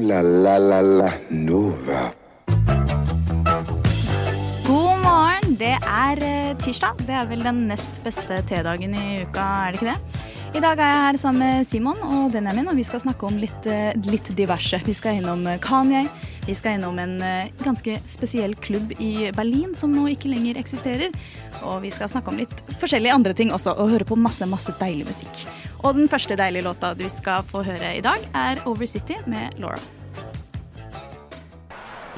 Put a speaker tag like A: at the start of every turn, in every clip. A: la la la la Nova.
B: God morgen. Det er eh, tirsdag. Det er vel den nest beste tedagen i uka, er det ikke det? I dag er jeg her sammen med Simon og Benjamin, og vi skal snakke om litt, eh, litt diverse. Vi skal innom eh, Kanye. Vi skal innom en eh, ganske spesiell klubb i Berlin som nå ikke lenger eksisterer. Og vi skal snakke om litt forskjellige andre ting også, og høre på masse, masse deilig musikk. Og den første deilige låta du skal få høre i dag, er Over City med Laura.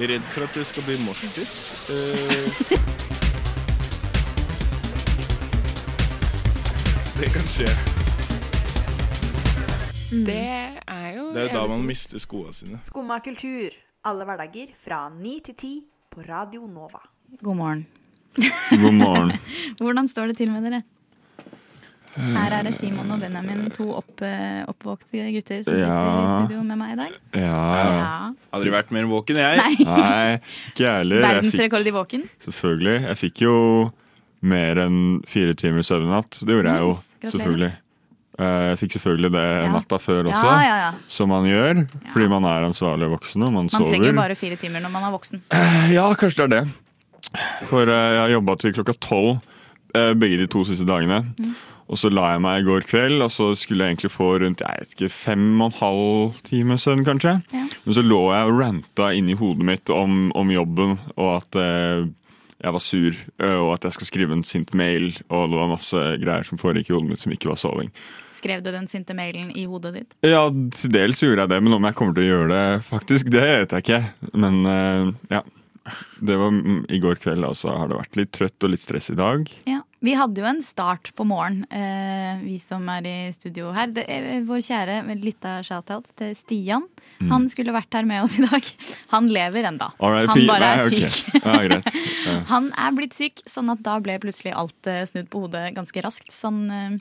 C: Redd for at det skal bli Eh. morsdytt. det kan skje.
D: Det er jo
C: Det er jo da man mister skoene sine.
E: Skumma kultur. Alle hverdager fra 9 til 10 på Radio Nova.
B: God morgen.
F: God morgen.
B: Hvordan står det til med dere?
F: Eh,
B: Her er det Simon og Benjamin, to opp, eh, oppvokste gutter som sitter i
F: Ja.
B: studio med meg i dag.
F: Ja.
B: Ja.
C: Aldri vært mer våken, jeg.
B: Nei,
F: Nei, ikke jeg heller. Jeg fikk-
B: verdensrekord i våken.
F: Selvfølgelig. Jeg fikk jo mer enn fire timer søvn i natt. Det gjorde jeg jo.
B: Nice. Gratulerer.
F: Selvfølgelig. Eh, Jeg fikk selvfølgelig det
B: Ja.
F: natta før også,
B: Ja, ja, ja.
F: som man gjør. Fordi man er ansvarlig voksen og man,
B: Man
F: sover.
B: trenger jo bare fire timer når man er voksen.
F: Ja, kanskje det er det. For eh, jeg jobba til klokka tolv eh, begge de to siste dagene. Og så la jeg meg i går kveld, og så skulle jeg egentlig få rundt jeg vet ikke, fem og en halv time søvn, kanskje.
B: Ja.
F: Men så lå jeg og ranta inni hodet mitt om, om jobben, og at eh, jeg var sur, eh, og at jeg skal skrive en sint mail, og det var masse greier som foregikk i hodet mitt som ikke var soving.
B: Skrev du den sinte mailen i hodet ditt?
F: Ja, til dels gjorde jeg det, men om jeg kommer til å gjøre det faktisk, det vet jeg ikke. Men eh, ja. Det var mm, i går kveld, og så har det vært litt trøtt og litt stress i dag.
B: Ja. Vi hadde jo en start på morgen, eh, vi som er i studio her. Det er vår kjære lita shoutout til Stian.
F: Mm.
B: Han skulle vært her med oss i dag. Han lever enda. Han
F: RIP.
B: bare er
F: Nei, ok.
B: syk.
F: Ja, greit. Ja.
B: Han er blitt syk, sånn at da ble plutselig alt eh, snudd på hodet ganske raskt. Sånn, eh,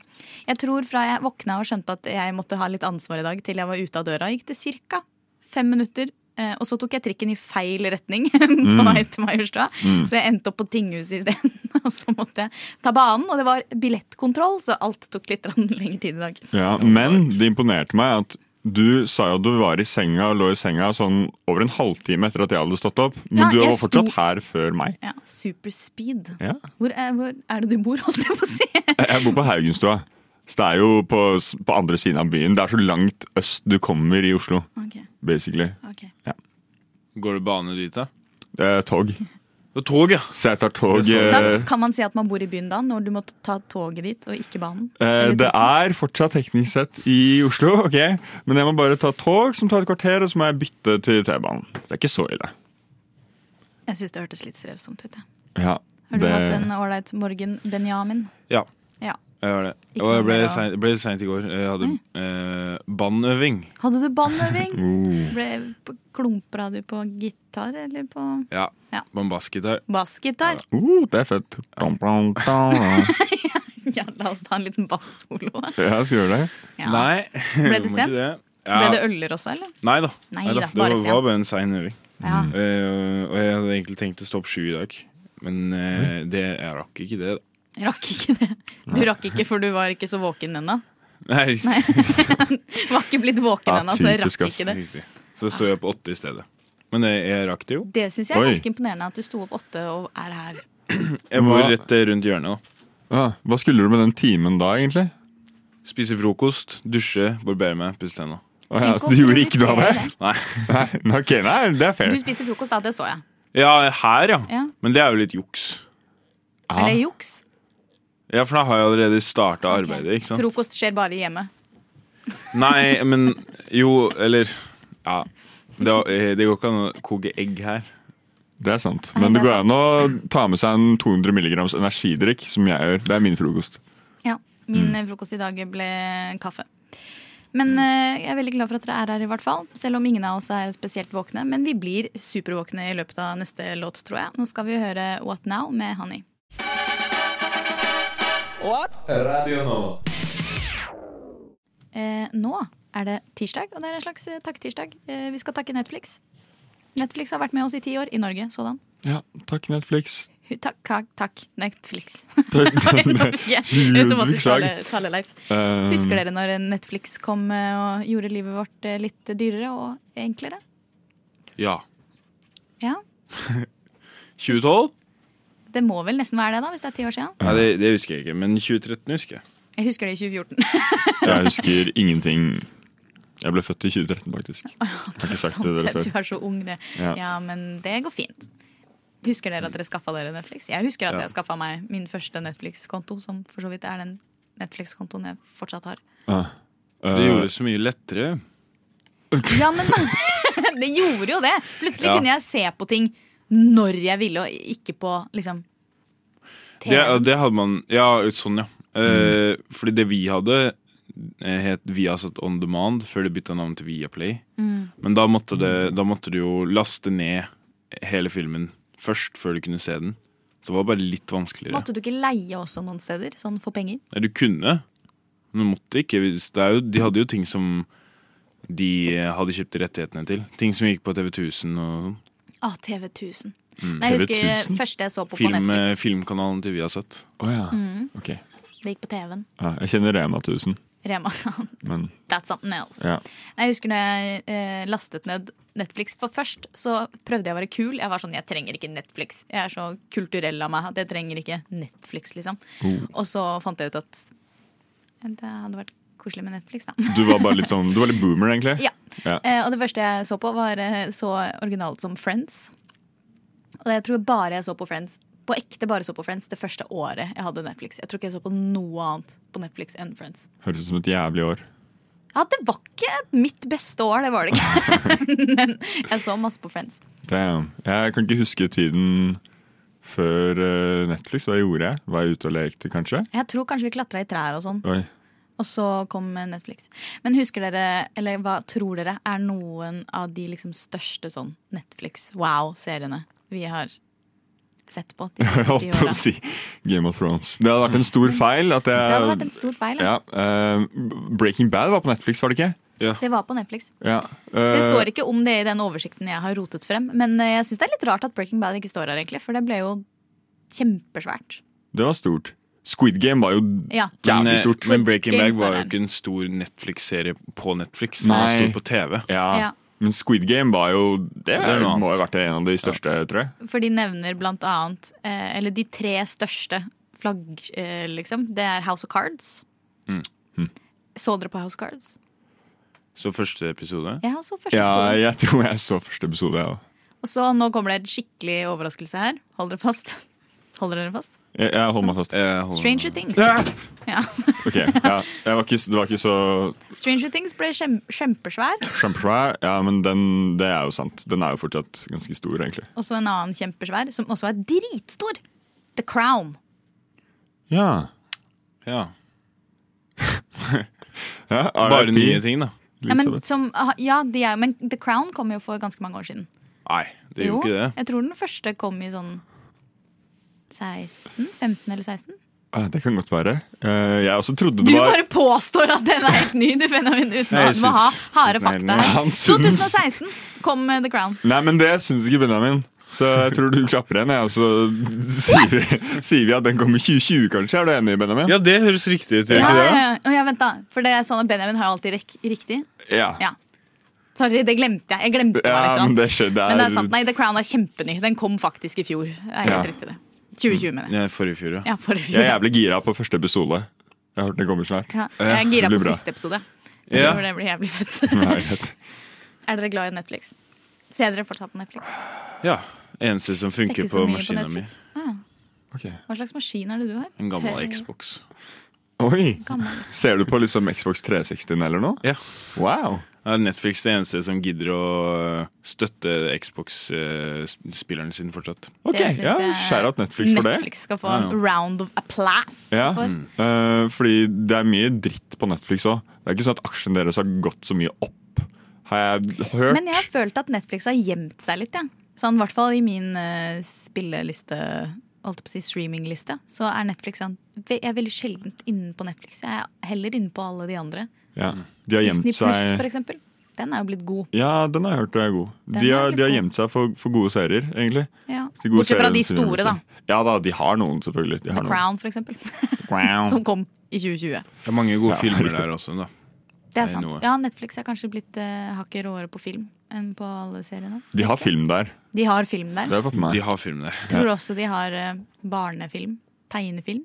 B: jeg tror fra jeg våkna og skjønte at jeg måtte ha litt ansvar i dag, til jeg var ute av døra, gikk det ca. fem minutter. eh, Og så tok jeg trikken i feil retning på
F: Mm.
B: vei til Majorstua. Så jeg endte opp på tinghuset isteden. Og så måtte jeg ta banen. Og det var billettkontroll, så alt tok litt grann lengre tid i dag.
F: Ja, men det imponerte meg at du sa jo at du var i senga og lå i senga sånn over en halvtime etter at jeg hadde stått opp. Men
B: Ja,
F: du
B: jeg
F: var fortsatt
B: sto-
F: her før meg.
B: Ja, Superspeed.
F: Ja.
B: Hvor, er- hvor er det du bor, holdt jeg på å si?
F: Jeg bor på Haugenstua. Så det er jo på, s- på andre siden av byen. Det er så langt øst du kommer i Oslo,
B: Ok,
F: basically.
B: ok.
C: Går det bane dit, da?
F: Det er tog.
C: Det er tog, ja.
F: Så jeg tar tog
C: Det er
F: eh,
B: Da kan man si at man bor i byen da, når du må ta toget dit og ikke banen?
F: eh,
B: Eller
F: Det
B: trikken?
F: er fortsatt teknisk sett i Oslo, ok? Men jeg må bare ta tog som tar et kvarter, og så må jeg bytte til T-banen. Det er ikke så ille.
B: Jeg syns det hørtes litt strevsomt ut. jeg.
F: Ja,
B: Har du
F: det-
B: hatt en ålreit morgen, Benjamin?
C: Ja,
B: Ja.
C: jeg gjør det.
B: Ikke
C: Og jeg ble
B: noe Mm. mer å-
C: sein- ble litt seint i går. Jeg hadde eh, bandøving.
B: Hadde du bandøving?
F: Oh.
B: Ble- p- Klumpra du på gitar eller på
C: Ja.
B: Ja.
C: Bombasgitar.
B: bassgitar?
F: Uh, det er fett. Dom, dom, dom.
B: Ja, la oss ta en liten bassolo.
F: Ja, jeg skal gjøre det.
B: Ja.
C: Nei.
B: Ble det
C: må ikke
B: sent?
C: Ja.
B: Ble det øller også, eller?
C: Nei da.
B: Nei
C: Neida.
B: da,
C: Det
B: bare
C: var,
B: sent.
C: var bare en sein øving.
B: Ja.
F: Mm.
C: Eh, og jeg hadde egentlig tenkt å stå opp sju i dag, men eh, det, jeg rakk ikke det. da
B: Jeg rakk ikke det. Du rakk ikke, for du var ikke så våken ennå.
C: Nei, riktig.
B: Var ikke blitt våken
F: Ja,
B: ennå, så jeg
F: typisk,
B: rakk
F: ass.
B: ikke det.
C: Riktig. Så det står jeg på åtte i stedet. Men jeg, jeg rakk det jo.
B: Det syns jeg er
F: Oi.
B: ganske imponerende at du sto opp åtte og er her.
C: Jeg bor
F: Hva-
C: rett eh, rundt hjørnet. da
F: Ja, hva skulle du med den timen da, egentlig?
C: Spise frokost, dusje, barbere meg, pusse tenna.
F: Å, ja,
B: Tenk
F: så
B: å
F: du gjorde ikke noe av det?
B: prioritere
C: Nei.
F: Nei, nei, ok, nei, det er fair.
B: Du spiste frokost da, det så jeg.
C: Ja, her, ja.
B: Ja.
C: Men det er jo litt juks.
B: Er det juks?
C: Ja, for da har jeg allerede starta arbeidet, ikke sant?
B: Frokost skjer bare i hjemmet.
C: Nei, men jo, eller Ja. Det, var- eh, det går ikke an å koke egg her.
F: Det er sant.
B: Nei,
F: Men
B: det
F: det
B: er
F: går an å ta med seg en 200 milligrams energidrikk, som jeg gjør. Det er min frokost.
B: Ja, Min
C: Mm.
B: eh, frokost i dag ble kaffe. Men eh, jeg er veldig glad for at dere er her, i hvert fall selv om ingen av oss er spesielt våkne. Men vi blir supervåkne i løpet av neste låt, tror jeg. Nå skal vi høre What Now med Honey. Eh, nå er det tirsdag, og det er en slags eh, takketirsdag. Eh, vi skal takke Netflix. Netflix har vært med oss i ti år, i Norge sådan.
F: Ja, takk Netflix.
B: Hu- Takk, takk, takk Netflix.
F: Takk,
B: Nå
F: takk.
B: fikk jeg
F: Julie,
B: Automatisk
F: beklager.
B: tale- taleleif.
F: Eh,
B: Husker dere når Netflix kom eh, og gjorde livet vårt eh, litt dyrere og enklere?
C: Ja.
B: Ja.
C: 2012?
B: Det må vel nesten være det, da, hvis det er ti år siden.
C: Nei, det, det husker jeg ikke, men 2013 husker jeg.
B: Jeg husker det i 2014.
F: Jeg husker ingenting. Jeg ble født i 2013, faktisk. Jeg har ikke sagt det til dere
B: Sant,
F: før.
B: du er så ung, det.
F: Ja.
B: Ja, men det går fint. Husker dere at dere skaffa dere Netflix? Jeg husker at
C: Ja.
B: jeg skaffa meg min første Netflix-konto, som for så vidt er den Netflix-kontoen jeg fortsatt har.
F: Ah. Eh,
C: Det gjorde det så mye lettere.
B: Ja, men det gjorde jo det! Plutselig
C: Ja.
B: kunne jeg se på ting når jeg ville, og ikke på liksom TV.
C: Det, det hadde man Ja, sånn, ja. Eh,
B: Mm.
C: Fordi det vi hadde, eh, het Viasat On Demand før det bytta navn til Viaplay.
B: Mm.
C: Men da måtte, det, da måtte du jo laste ned hele filmen først, før du kunne se den. Så det var bare litt vanskeligere.
B: Måtte du ikke leie også noen steder, sånn for penger?
C: Nei, du kunne, men du måtte ikke. hvis- Det er jo, de hadde jo ting som de eh, hadde kjøpt rettighetene til. Ting som gikk på TV 1000 og sånn.
B: Ah, TV 1000.
C: Mm,
B: Nei, jeg
F: TV
B: husker eh,
F: 1000?
B: første jeg så på på
C: Film, eh,
B: Netflix.
C: filmkanalen til Viasat.
F: Å ja.
B: Mm.
F: Ok.
B: Det gikk på TV-en.
F: Ja, jeg kjenner Rema 1000,
B: Rema.
F: men
B: That's something else.
F: ja.
B: Nei, Jeg husker da jeg eh, lastet ned Netflix. For først så prøvde jeg å være kul. Jeg var sånn, jeg trenger ikke Netflix. Jeg er så kulturell av meg at jeg trenger ikke Netflix, liksom.
C: Oh.
B: Og så fant jeg ut at det hadde vært koselig med Netflix, da.
F: Du var bare litt sånn, du var litt boomer, egentlig.
B: ja.
F: Ja.
B: Eh, og det første jeg så på, var eh, så originalt som Friends. Og jeg tror bare jeg så på Friends på ekte bare så på Friends det første året jeg hadde Netflix. Jeg tror ikke jeg så på noe annet på Netflix enn Friends.
F: Høres ut som et jævlig år.
B: Ja, det var ikke mitt beste år, det var det ikke. Men jeg så masse på Friends.
F: Damn. Jeg kan ikke huske tiden før eh, Netflix. Hva gjorde jeg? Var jeg ute og lekte, kanskje?
B: Jeg tror kanskje vi klatra i trær og sånn,
F: Oi.
B: og så kom Netflix. Men husker dere, eller hva tror dere, er noen av de liksom største sånn Netflix-wow-seriene vi har sett på de
F: Jeg
B: siste ti
F: holdt på
B: åra?
F: å si Game of Thrones. Det hadde vært en stor feil. At jeg,
B: Det hadde vært en stor feil. Ja.
F: Eh, ja, eh, Breaking Bad var på Netflix, var det ikke?
B: Det var på Netflix.
F: Ja.
B: Det står ikke om det i den oversikten jeg har rotet frem, men eh, jeg syns det er litt rart at Breaking Bad ikke står her, egentlig, for det ble jo kjempesvært.
F: Det var stort. Squid Game var jo
B: Ja.
C: Men,
F: jævlig
C: eh,
F: stort.
C: men Breaking
B: Games
C: Bag
B: står
C: var jo
B: der.
C: ikke en stor Netflix-serie på Netflix.
F: Nei.
C: Den sto på TV.
B: Ja.
F: Ja. Men Squid Game var jo Det,
C: er noe annet.
F: må ha vært en av de største, tror jeg.
B: For de nevner blant annet eh, Eller de tre største flagg, eh, liksom. Det er House of Cards.
C: Mm.
B: Så dere på House of Cards?
C: Så første episode.
B: Jeg har så første
F: Ja,
B: episode.
F: jeg tror jeg så første episode, jeg òg.
B: Og så nå kommer det en skikkelig overraskelse her. Hold dere fast. Holder dere fast?
F: Jeg, jeg holder meg fast.
C: Jeg holder-
B: Stranger Things.
F: Ja!
B: Ja.
F: Ok, ja. Jeg var ikke, det var ikke så
B: Stranger Things ble kjem kjempesvær.
F: kjempesvær, ja, men den, det er jo sant. Den er jo fortsatt ganske stor, egentlig.
B: Og så en annen kjempesvær, som også er dritstor. The Crown.
F: Ja.
C: Ja.
F: ja
C: Bare
F: RIP,
C: nye ting, da.
B: Ja, men,
F: Elisabeth.
B: som, ah, ja, de er, men The Crown kom jo for ganske mange år siden.
C: Nei, det gjorde ikke det.
B: Jeg tror den første kom i sånn 16? 15 eller 16?
F: Ja, det kan godt være. Eh, jeg også trodde
B: Du
F: det var
B: bare påstår at den er helt ny, du Benjamin, uten
C: Nei, jeg
B: at du må ha
C: syns-
B: harde
F: syns den er
B: fakta
F: helt ny.
B: her.
F: Han syns-
B: 2016 kom eh, The Crown.
F: Nei, men det syns ikke Benjamin. Så jeg tror du klapper igjen, jeg. Og så sier vi, sier vi at den kommer i 2020, kanskje. Er du enig, Benjamin?
C: Ja, det høres riktig ut. gjør
B: Ja,
C: ikke
B: ja,
C: det?
B: ja. Å, ja, vent da, for det er sånn at Benjamin har jo alltid rek riktig.
F: Ja.
B: Ja. Sorry, det glemte jeg. Jeg glemte det var
F: Ja,
B: The Crown.
F: men det liksom- skjedde.
B: Men det er sant. Nei, The Crown er kjempeny. Den kom faktisk i fjor. Det er helt
F: Ja.
B: riktig, det. 2020, mener jeg.
C: Ja, Forrige fjor, ja.
B: Ja, forrige
F: Jeg er
B: fjor.
F: jævlig gira på første episode. Jeg hørte den kommer snart.
B: Ja, jeg er gira
F: Det blir
B: på
F: bra.
B: siste episode. Jeg
C: Ja.
B: tror det blir jævlig fett.
F: Nei, jeg vet.
B: Er dere glad i Netflix? Ser dere fortsatt på Netflix?
C: ja. Eneste som
B: Ser
C: funker
B: ikke så
C: på
B: mye
C: maskina mi.
B: Netflix. Ah,
F: Ok.
B: hva slags maskin er det du har?
C: En gammel
B: Tørr-
C: Xbox.
F: Oi!
B: gammel.
F: Ser du på liksom Xbox 360 eller noe?
C: Ja.
F: Wow!
C: Er Netflix det eneste som gidder å eh, støtte eh, Xbox-spilleren sin fortsatt?
F: Ok,
B: Det synes
F: ja,
B: jeg
F: Skjær out Netflix for det.
B: Netflix skal få en
C: Ja, ja.
B: round of applause
F: Ja.
B: for.
F: Eh, fordi det er mye dritt på Netflix òg. Det er ikke sånn at aksjen deres har gått så mye opp. Har jeg hørt?
B: Men jeg har følt at Netflix har gjemt seg litt, ja. Sånn, i hvert fall i min eh, spilleliste, holdt jeg på å si streamingliste, så er Netflix sånn ve- Jeg er veldig sjeldent inne på Netflix. Jeg er heller inne på alle de andre.
F: ja. De har gjemt
B: Disney Pluss,
F: seg
B: for eksempel. Den er jo blitt god.
F: Ja, den har jeg hørt er god.
B: Den
F: De
B: er
F: har,
B: litt
F: de har
B: god.
F: gjemt seg for, for gode serier, egentlig.
B: Ja.
F: De gode
B: Bortsett fra
F: seriene
B: de
F: som gjør
B: store, da.
F: det. Ja da, de har noen, selvfølgelig. De har
B: Crown, for eksempel.
F: noen.
B: Som kom i 2020.
C: Det er mange gode
F: Ja,
C: filmer
F: riktig.
C: der også, da.
B: Det er
C: Eh,
B: sant.
C: noe.
B: Ja, Netflix er kanskje blitt eh, hakket råere på film enn på alle seriene.
F: De har film der.
B: De har film der.
F: Det har jeg fått med
C: De
F: meg.
C: har film der.
B: Tror også de har eh, barnefilm. Tegnefilm.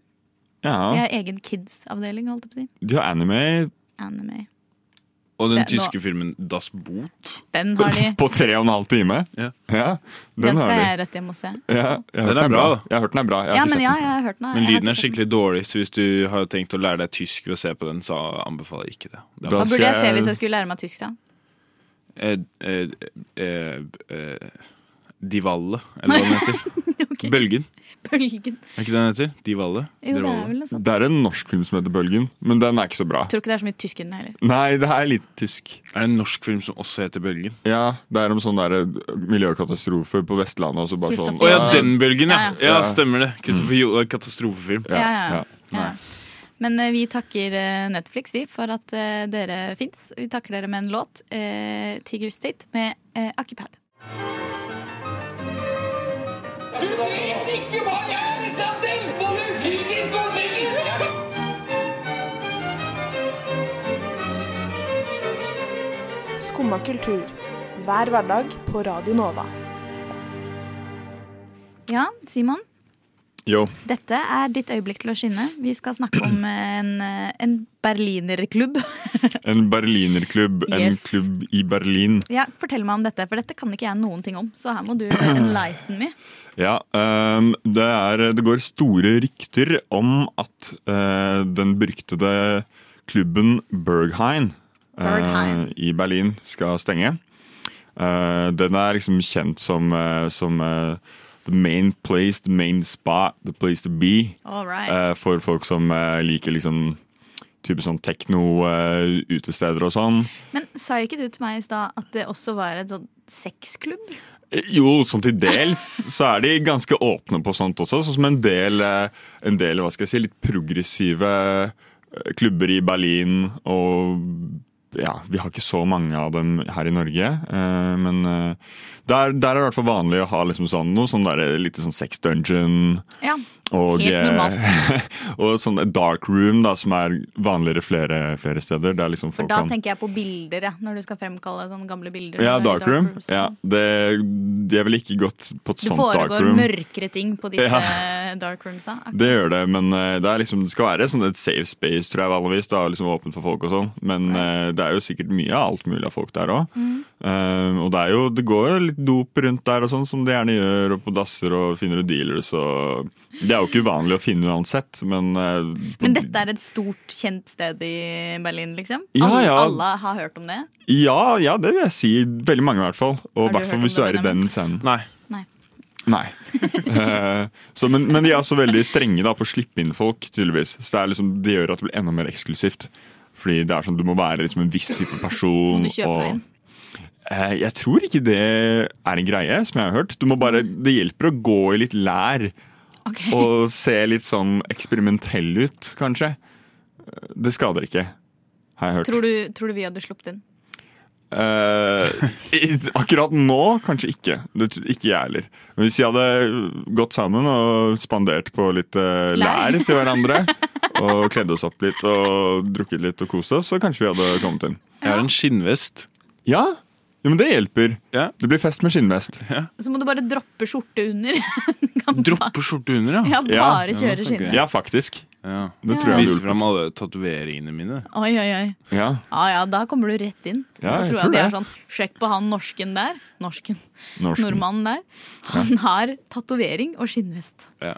B: De
F: Ja.
B: har egen kids-avdeling, holdt jeg på å si.
F: De har anime
B: Anime.
C: Og den
B: Det- nå-
C: tyske filmen Das Boot.
B: Den har de.
F: på tre og en halv time.
C: Ja.
F: den,
B: Den
F: har
B: skal
F: de.
B: jeg rett hjem og se.
F: Ja, jeg har hørt
C: Den er
F: den
C: bra, da.
F: Jeg har hørt den er bra. Jeg har
B: Ja, men
F: ikke sett
B: ja,
F: den.
B: jeg har hørt den. jeg
C: Men
B: har
C: lyden
B: ikke
C: er
B: sett den.
C: skikkelig dårlig, så hvis du har tenkt å lære deg tysk ved å se på den, så anbefaler jeg ikke det. det
F: Da
B: Hva burde jeg
F: skal
B: se
F: jeg-
B: hvis jeg skulle lære meg tysk, da?
C: eh, eh, eh, eh, Divalle, eller hva den heter. Bølgen.
B: Bølgen.
C: Er ikke det den heter? Divalle?
B: Jo, det
C: Divalle.
B: er vel noe sånt.
F: Det er en norsk film som heter Bølgen, men den er ikke så bra.
B: Tror ikke det er så mye tysk i den heller.
F: Nei, det er litt tysk.
C: Er det en norsk film som også heter Bølgen?
F: Ja, Det er om sånn der miljøkatastrofe på Vestlandet. Og så bare sånn
B: Kristoffer
C: Å ja, den bølgen, ja!
B: Ja,
C: Ja, stemmer det. Kristoffer Jo, katastrofefilm.
F: Mm. Ja,
B: Ja, ja,
F: ja.
B: ja. Men eh, vi takker eh, Netflix vi for at eh, dere fins. Vi takker dere med en låt, eh, 'Tiger State', med eh, Occupad.
G: Du vet ikke hva jeg er i stand til! Både fysisk og psykisk!
H: Skumma kultur. Hver hverdag på Radio Nova.
B: Ja, Simon.
F: Jo,
B: Dette er ditt øyeblikk til å skinne. Vi skal snakke om en, eh, en berlinerklubb.
F: En berlinerklubb. En
B: Yes.
F: klubb i Berlin.
B: Ja, fortell meg om dette, for dette kan ikke jeg noen ting om. Så her må du enlighten me.
F: Ja, ehm, det, er, det går store rykter om at eh, den beryktede klubben Berghain, eh,
B: Berghain.
F: i Berlin skal stenge. Eh, den er liksom kjent som, eh, som eh, the main place, the main spot, the place to be.
B: All right.
F: eh, for folk som eh, liker liksom type sånn tekno-utesteder og sånn.
B: Men sa ikke du til meg i stad at det også var et sånn sexklubb?
F: Jo, sånn til dels så er de ganske åpne på sånt også. Sånn som en del, eh, en del hva skal jeg si, litt progressive eh, klubber i Berlin og ja, Vi har ikke så mange av dem her i Norge, eh, men eh, der, der er det i hvert fall vanlig å ha liksom sånn, noe sånn der, eh, lite sånn sex dungeon.
B: Ja.
F: Og,
B: Helt normalt.
F: eh, og sånn dark room, da, som er vanligere flere, flere steder. Der liksom
B: For
F: folk
B: da
F: kan
B: tenker jeg på bilder, ja, når du skal fremkalle sånne gamle bilder.
F: Ja,
B: Eller
F: dark room.
B: rooms og
F: Ja,
B: sånn.
F: det, det er vel ikke godt på et
B: Det
F: sånt dark
B: foregår
F: room.
B: mørkere ting på disse dark roomsa. akkurat.
F: Det gjør det, men eh, det, er liksom, det skal være sånn et safe space, tror jeg vanligvis. Da, liksom åpent for folk og sånn. Men eh, det er jo sikkert mye av alt mulig av folk der òg.
B: Mm.
F: og det, er jo, det går jo litt dop rundt der, og sånn som de gjerne gjør. Og på dasser og finner du dealers og Det er jo ikke uvanlig å finne uansett, men eh, på-
B: Men dette er et stort, kjent sted i Berlin, liksom?
F: Ja,
B: alle,
F: ja.
B: alle har hørt om det?
F: ja, ja, det vil jeg si. Veldig mange, i hvert fall. Og
B: Har
F: i
B: du
F: hvert fall
B: hørt
F: hvis
B: om
F: du er
B: det,
F: i
B: Benjamin?
F: den scenen.
C: Nei.
B: Nei.
F: Nei. Eh, så, men, men de er også veldig strenge da, på å slippe inn folk, tydeligvis. Så det, er liksom, det gjør at det blir enda mer eksklusivt. Fordi det er sånn, du må være liksom, en viss type person.
B: Må du kjøpe deg inn?
F: Eh, jeg tror ikke det er en greie, som jeg har hørt. Du må bare, det hjelper å gå i litt lær
B: Ok,
F: og se litt sånn eksperimentell ut, kanskje. Eh, Det skader ikke, har jeg hørt.
B: tror, du, tror du vi hadde sluppet inn?
F: Eh, i- akkurat nå kanskje ikke. Det, tr- ikke jeg heller. Men hvis vi hadde gått sammen og spandert på litt eh,
B: Lær.
F: lær til hverandre, og kledd oss opp litt og drukket litt og kost oss, så kanskje vi hadde kommet inn.
C: Jeg har en skinnvest.
F: Ja, jo, men det hjelper.
C: Ja.
F: Det blir fest med skinnvest.
B: Så må du bare droppe skjorte under. Kan
C: Dropper skjorte under,
B: bare-
C: ja.
B: Ja, bare kjøre
C: Ja, det snakker vi.
B: skinnet.
F: Ja, faktisk.
C: ja.
F: Det tror jeg
C: Viser
F: hadde
C: fram
F: hjulpet.
C: alle tatoveringene mine.
B: Oi, oi, oi.
F: Ja.
B: Ja, ja, da kommer du rett inn.
F: Ja,
B: da
F: jeg
B: tror
F: tror
B: jeg de er
F: det.
B: sånn Sjekk på han norsken der. Norsken.
F: Norsken.
B: Nordmannen der. Han har tatovering og skinnvest.
C: Ja.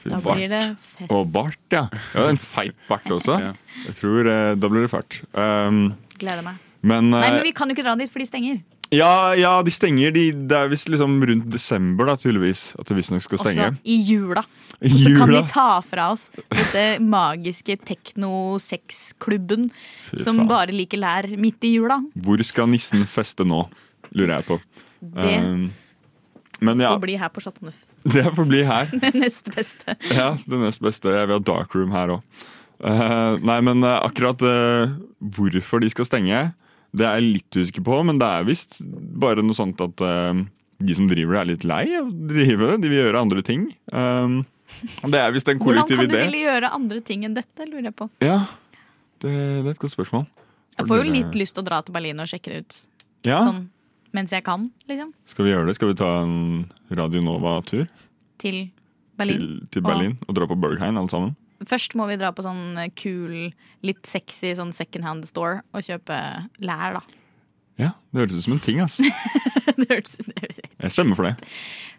F: Fy
B: Da
F: faen.
B: blir det fest.
F: Og bart, ja. ja. En feit bart også.
C: Ja.
F: Jeg tror eh, Da blir det fælt. Um,
B: Gleder meg.
F: men,
B: Nei, men
F: eh,
B: vi kan jo ikke dra dit, for de stenger.
F: Ja, ja, de stenger. De, det er visst liksom rundt desember, da, tydeligvis. At de visstnok skal stenge.
B: Også i jula.
F: I
B: Så kan de
F: jula.
B: ta fra oss dette magiske tekno-sexklubben som
F: faen.
B: bare liker lær midt i jula.
F: Hvor skal nissen feste nå, lurer jeg på.
B: Det
F: Um, men ja,
B: får bli her på Chateau Neuf.
F: det får bli her.
B: Det neste beste.
F: Ja, Det nest beste. Jeg vil ha dark room her òg. nei, men eh, akkurat eh, hvorfor de skal stenge, det er jeg litt usikker på. Men det er visst bare noe sånt at eh, de som driver det, er litt lei av å drive det. De vil gjøre andre ting. Um, det er visst en
B: Hvordan
F: kollektiv
B: kan du
F: idé.
B: ville gjøre andre ting enn dette, lurer jeg på.
F: Ja, det, det er et godt spørsmål.
B: Jeg får jo litt lyst til å dra til Berlin og sjekke det ut.
F: Ja,
B: Sånn mens jeg kan, liksom.
F: Skal vi gjøre det? Skal vi ta en Radio Nova-tur
B: Til Berlin.
F: til, til Berlin og dra på Berghain alle sammen?
B: Først må vi dra på sånn eh, kul, litt sexy sånn second hand store og kjøpe lær, da.
F: Ja, Det høres ut som en ting. ass. Jeg
B: Det hørtes det hørtes-
F: stemmer for det.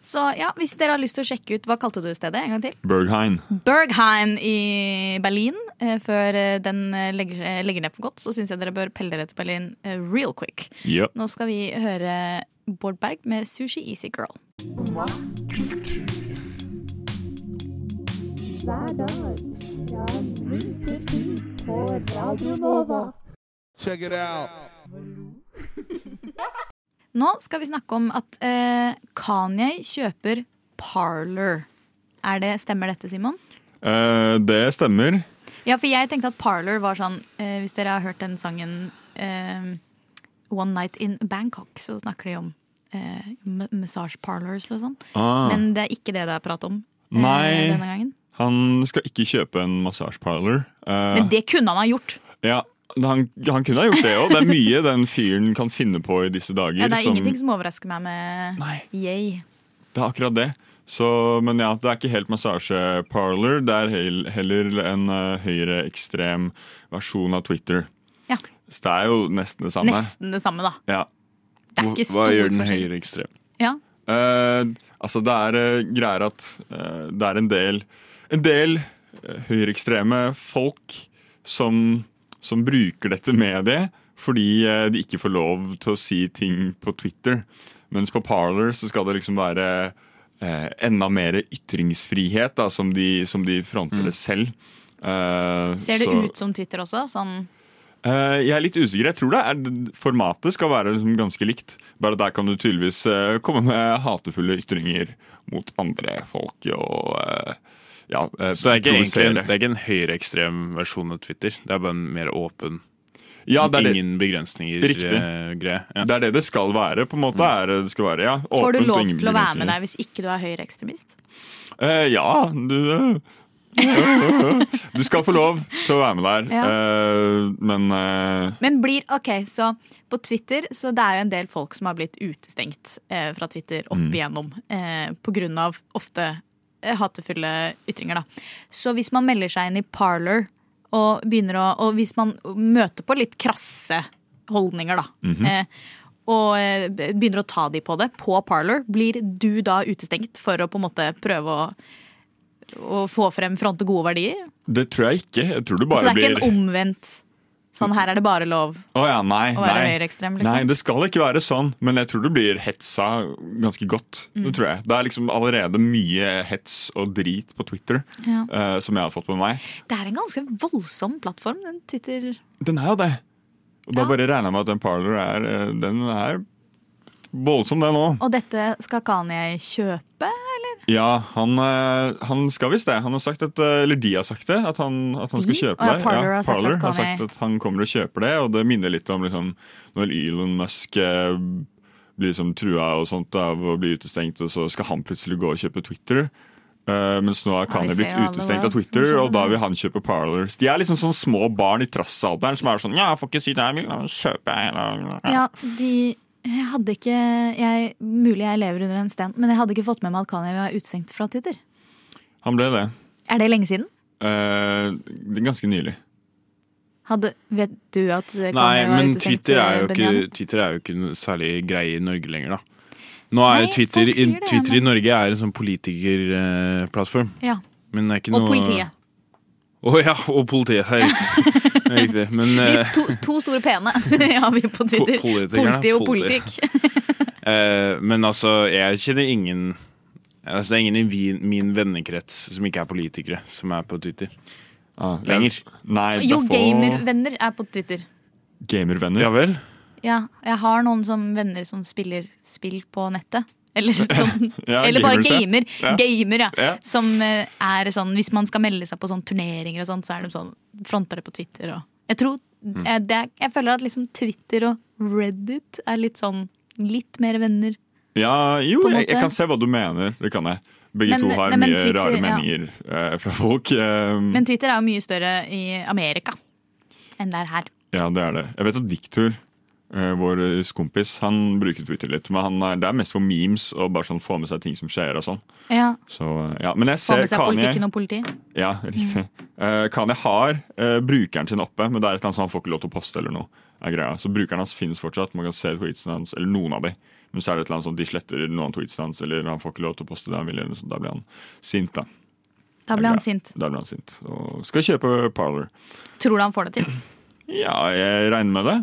B: Så ja, hvis dere har lyst til å sjekke ut Hva kalte du stedet en gang til?
F: Berghain.
B: Berghain i Berlin. eh, Før eh, den eh, legger, eh, legger ned for godt, så syns jeg dere bør pelle dere til Berlin eh, real quick.
F: Ja.
B: Nå skal vi høre Bård Berg med Sushi Easy Girl.
A: Check it out.
B: Nå skal vi snakke om at eh, Kanye kjøper Parler. Er det, stemmer dette, Simon?
F: Eh, det stemmer.
B: Ja, for jeg tenkte at Parler var sånn eh, Hvis dere har hørt den sangen eh, One Night in Bangkok, så snakker de om eh, ma- massage parlors og sånn.
F: Ah,
B: Men det er ikke det det er prat om eh,
F: Nei.
B: denne gangen.
F: han skal ikke kjøpe en massasjeparlor. Eh,
B: Men det kunne han ha gjort.
F: ja, han, han kunne ha gjort det òg. Det er mye den fyren kan finne på i disse dager.
B: Ja, det er
F: som-
B: ingenting som overrasker meg med
F: sånn- Nei,
B: yay.
F: det er akkurat det. Så, men ja, det er ikke helt massasjeparlor. Det er hel- heller en uh, høyreekstrem versjon av Twitter.
B: Ja.
F: Så det er jo nesten det samme.
B: Nesten det samme, da.
F: Ja.
B: Det er
C: Hva
B: ikke
C: hva
B: stor
C: gjør den
B: forskjell.
C: høyreekstrem?
B: Ja.
F: Eh, altså, det er eh, greier at eh, det er en del, en del eh, høyreekstreme folk som, som bruker dette mediet fordi eh, de ikke får lov til å si ting på Twitter. Mens på Parler så skal det liksom være eh, enda mer ytringsfrihet, da, som de, som de fronter det selv. Eh,
B: Mm. Ser det
F: så-
B: ut som Twitter også? Sånn
F: Eh, jeg er litt usikker. Jeg tror det er, formatet skal være liksom ganske likt. Bare der kan du tydeligvis eh, komme med hatefulle ytringer mot andre folk og eh, ja, eh,
C: Så det er ikke egentlig en,
F: provosere.
C: det er ikke en høyreekstrem versjon av Twitter. Det er bare en mer åpen,
F: ja, det, er det,
C: ingen
F: Riktig.
C: begrensninger-greie. ja. Mm.
F: det er det det skal være, på en måte. Er, det det skal være, ja,
B: Får du
F: åpent og
B: lov
F: ingen
B: til å være med
F: begrensninger.
B: deg hvis ikke du er høyreekstremist?
F: Eh, ja, du eh, Du skal få lov til å være med der, eh, men eh,
B: Men blir, ok, så på Twitter så det er jo en del folk som har blitt utestengt eh, fra Twitter opp
F: Mm.
B: igjennom eh, på grunn av ofte eh, hatefulle ytringer. da. Så hvis man melder seg inn i Parler og begynner å, og hvis man møter på litt krasse holdninger, da,
F: Mhm.
B: eh, og eh, begynner å ta de på det på Parler, blir du da utestengt for å på en måte prøve å, å få frem fronte gode verdier?
F: det tror jeg ikke. Jeg tror
B: Så
F: du
B: det
F: bare
B: er ikke en
F: blir
B: omvendt sånn her er det bare lov?
F: Å ja, nei,
B: Å være
F: nei.
B: høyreekstrem,
F: Nei,
B: liksom.
F: det skal ikke være sånn, men jeg tror du blir hetsa ganske godt.
B: Mm.
F: Det tror jeg. Det er liksom allerede mye hets og drit på Twitter
B: Ja.
F: eh, som jeg har fått med meg.
B: Det er en ganske voldsom plattform, den Twitter.
F: Den er jo det. Og da
B: Ja.
F: bare regner jeg med at den Parler er eh, Den er voldsom, den òg.
B: Og dette skal Kanye kjøpe, eller?
F: Ja, han, eh, han skal visst det. Han har sagt at, eh, eller de har sagt det, at han, at han
B: De?
F: skal kjøpe
B: Å ja,
F: det.
B: Parler har sagt
F: Parler
B: at
F: har
B: Kanye-
F: sagt at han kommer og kjøper det, og det minner litt om liksom, når Elon Musk eh, blir liksom trua og sånt av å bli utestengt, og så skal han plutselig gå og kjøpe Twitter. Eh, mens nå har
B: Ja, vi ser
F: Kanye blitt
B: jo alle
F: utestengt
B: hva
F: av
B: som
F: Twitter,
B: skjer
F: og da
B: nå.
F: vil han kjøpe Parlers. De er liksom sånn små barn i trassalderen som er sånn Ja, jeg får ikke si det jeg vil, jeg kjøper jeg.
B: Ja, de jeg hadde ikke jeg, Mulig jeg lever under en sten, men jeg hadde ikke fått med meg at Kanye var utestengt fra Twitter.
F: Han ble det.
B: Er det lenge siden?
F: Eh, det er ganske nylig.
B: Hadde, vet du at Kanye
C: Nei,
B: var
C: men
B: utestengt?
C: Twitter er, jo
B: Benjamin?
C: ikke, Twitter er jo ikke noe særlig greie i Norge lenger, da. Nå er
B: Nei,
C: jo Twitter,
B: folk
C: i,
B: sier det,
C: Twitter i
B: men-
C: Norge er en sånn politikerplattform.
B: Ja.
C: Men det er ikke
B: Og
C: noe
B: politiet.
C: Å ja, og politiet. Det er riktig. Det er riktig. Men
B: De
C: eh,
B: to, to store pene har vi på Twitter.
C: Po- politikerne,
B: Politi og
C: politi.
B: politikk.
C: eh, men altså, jeg kjenner ingen Altså, Det er ingen i vi- min vennekrets som ikke er politikere, som er på Twitter.
F: Ah,
C: Lenger.
F: Nei,
B: Jo,
F: derfor-
B: gamervenner er på Twitter.
F: Gamervenner.
C: Ja vel?
B: Ja, jeg har noen som venner som spiller spill på nettet. Eller, sånn,
F: Ja,
B: eller bare
F: gamers, ja.
B: gamer.
F: Ja.
B: Gamer, ja.
F: Ja.
B: Som eh, er sånn Hvis man skal melde seg på sånn turneringer og sånt, så er de sånn Fronter det på Twitter og Jeg tror
F: Mm.
B: eh, det er, Jeg føler at liksom Twitter og Reddit er litt sånn Litt mer venner.
F: Mm. Ja, jo,
B: På en
F: jeg, jeg
B: måte.
F: kan se hva du mener. Det kan jeg. Begge
B: Men-
F: to har
B: nei, men
F: mye
B: Twitter-
F: rare
B: ja.
F: meninger eh, fra folk. eh,
B: Men Twitter er jo mye større i Amerika enn det er her.
F: Ja, det er det. Jeg vet at Victor, eh, vår kompis, han bruker Twitter litt. Men han er, det er mest for memes og bare sånn få med seg ting som skjer og sånn.
B: Ja,
F: Så, eh, ja. Men jeg
B: Få
F: ser
B: med seg politikken
F: Kanye,
B: og politiet.
F: ja, riktig. Eh, Kanye har eh, brukeren sin oppe, men det er et eller annet sånn han får ikke lov til å poste eller noe. Er greia. Så brukeren hans finnes fortsatt. Man kan se tweetsene hans, eller noen av de. Men så er det et eller annet sånn, de sletter noen av tweetsene hans, eller han får ikke lov til å poste det han vil. Eller noe sånt. Da blir han sint, da.
B: Da ble han sint.
F: Da blir han sint. Og skal kjøpe Parler.
B: Tror du han får det til?
F: Ja, jeg regner med det.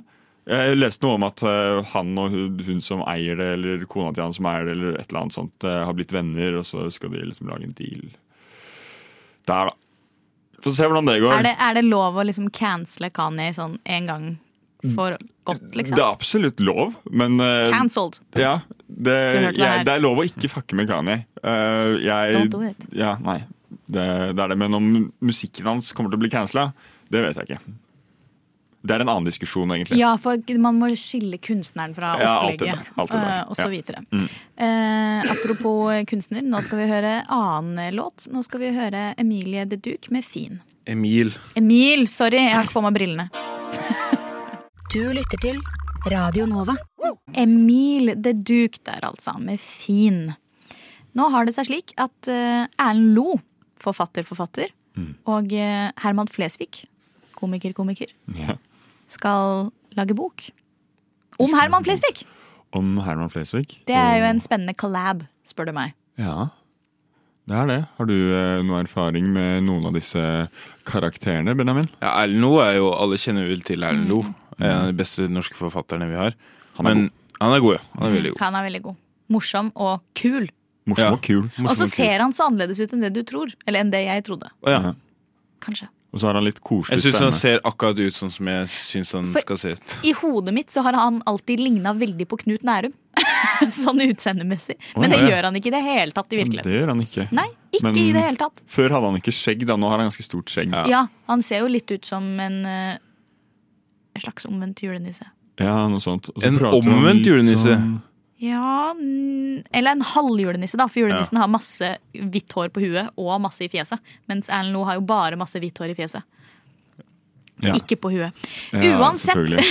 F: Jeg leste noe om at eh, han og hun, hun som eier det, eller kona til han som eier det, eller et eller annet sånt, eh, har blitt venner, og så skal de liksom lage en deal. Der, da. Får se hvordan det går.
B: Er det, er det lov å liksom cancele Kanye sånn en gang for godt,
F: Det
B: liksom?
F: er absolutt lov, men Mm, eh,
B: Cancelled.
F: ja, det,
B: hørte det her.
F: jeg, det er lov å ikke fucke med Kanye. Eh, jeg,
B: Don't do it.
F: Ja, nei, det, det er det. Men om musikken hans kommer til å bli cancela, det vet jeg ikke. Det er en annen diskusjon, egentlig.
B: Ja, for man må skille kunstneren fra
F: Ja, alt det
B: opplegget.
F: der, alt det der.
B: eh, og så
F: Ja. Mm.
B: videre. Eh, apropos kunstner, nå skal vi høre annen låt. Nå skal vi høre Emilie De Duc med 'Fin'.
C: Emil.
B: Emil, sorry, jeg har ikke på meg brillene.
I: Du lytter til Radio Nova.
B: Emil The Duke der, altså, med fin. Nå har det seg slik at eh, Erlend Lo, forfatter, forfatter,
C: Mm.
B: og eh, Herman Flesvig, komiker, komiker,
F: Ja.
B: skal lage bok. Om Herman Flesvig!
F: Om Herman Flesvig.
B: Det er jo en spennende collab, spør du meg.
F: Ja, det er det. Har du eh, noe erfaring med noen av disse karakterene, Benjamin?
C: Ja, Erlend Loe er jo Alle kjenner vel til Erlend Loe. En av de beste norske forfatterne vi har.
F: Han er
C: Men han er god, ja. Han er veldig god.
B: Han er veldig god. Morsom og kul.
F: Morsom
C: Ja.
F: og kul.
B: Og så
C: og kul.
B: ser han så annerledes ut enn det du tror. Eller enn det jeg trodde.
C: Å, ja.
B: Kanskje.
F: Og så har han litt koselig
C: Jeg syns
F: stemme.
C: han ser akkurat ut sånn som jeg syns han
B: For-
C: skal se ut.
B: I hodet mitt så har han alltid ligna veldig på Knut Nærum. sånn utseendemessig. Men det
F: Å, ja.
B: gjør han ikke i det hele tatt i virkeligheten.
F: Det gjør han ikke.
B: Nei, ikke
F: Men-
B: i det hele tatt.
F: Før hadde han ikke skjegg, da. Nå har han ganske stort skjegg.
B: Ja. han ser jo litt ut som en eh, en slags omvendt julenisse.
F: Ja, noe sånt. Og så
C: En
F: prater han
C: omvendt
F: litt
C: julenisse.
F: sånn-
B: Ja, mm, eller en halvjulenisse, da, for julenissen har masse hvitt hår på huet og masse i fjeset. Mens Erlend Loe har jo bare masse hvitt hår i fjeset.
F: Ja.
B: Ikke på huet.
F: Ja,
B: Uansett,
F: selvfølgelig.